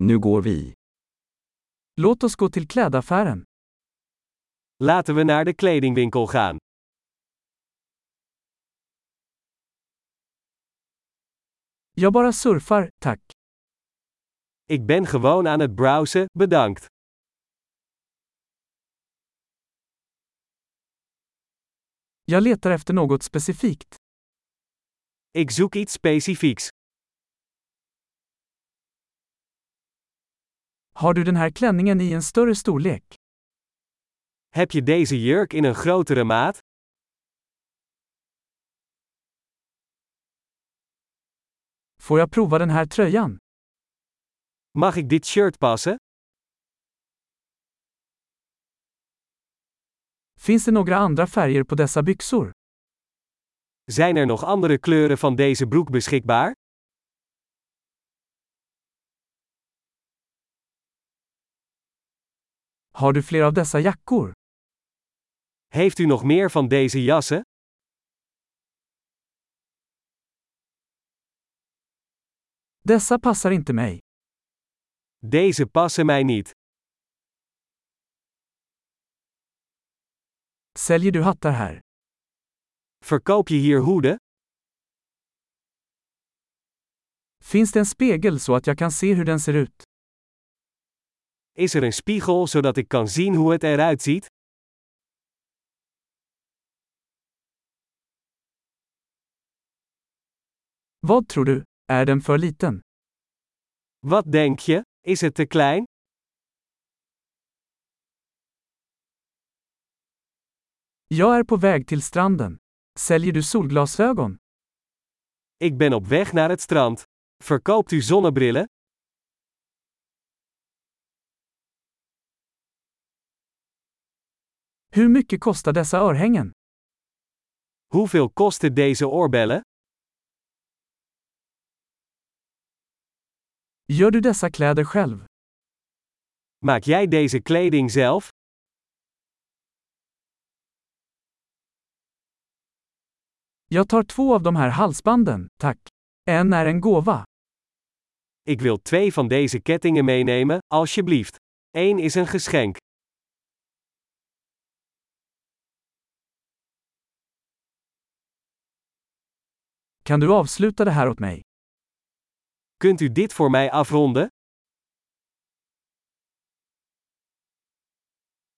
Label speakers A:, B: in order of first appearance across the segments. A: Nu går vi.
B: Låt oss gå till klädaffären.
C: Laten we naar de kledingwinkel gaan.
B: Jag bara surfar, tack.
C: Ik ben gewoon aan het browsen, bedankt.
B: Jag letar efter något specifikt.
C: Ik zoek iets specifieks.
B: Har du den här klänningen i en större storlek?
C: Heb je deze jurk in een grotere maat?
B: Får jag prova den här tröjan?
C: Mag ik dit shirt passen?
B: Finns det några andra färger på dessa byxor?
C: Zijn er nog andere kleuren van deze broek beschikbaar?
B: Har du fler av dessa jackor?
C: Heeft u nog meer van deze jassen?
B: Dessa passar inte mig.
C: Deze passen mij niet.
B: Säljer du hattar här?
C: Verkoop je hier hoeden?
B: Finns det en spegel så att jag kan se hur den ser ut?
C: Is er een spiegel zodat ik kan zien hoe het eruit ziet?
B: Vad tror du? Är den för liten?
C: Wat denk je? Is het te klein?
B: Jag är på väg till stranden. Säljer du solglasögon?
C: Ik ben op weg naar het strand. Verkoopt u zonnebrillen?
B: Hur mycket kostar dessa örhängen?
C: Hoeveel kosten deze oorbellen?
B: Gör du dessa kläder själv?
C: Maak jij deze kleding zelf?
B: Jag tar två av de här halsbanden, tack. En är en gåva.
C: Ik wil twee van deze kettingen meenemen, alsjeblieft. Eén is een geschenk.
B: Kan du avsluta det här åt mig?
C: Kunt u dit voor mij afronden?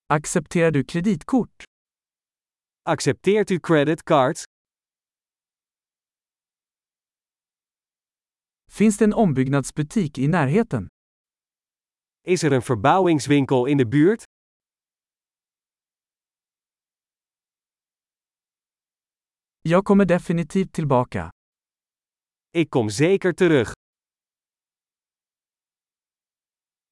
B: Accepterar du kreditkort?
C: Accepteert u creditcards?
B: Finns det en ombyggnadsbutik i närheten?
C: Is er een verbouwingswinkel in de buurt?
B: Jag kommer definitivt tillbaka.
C: Ik kom zeker terug.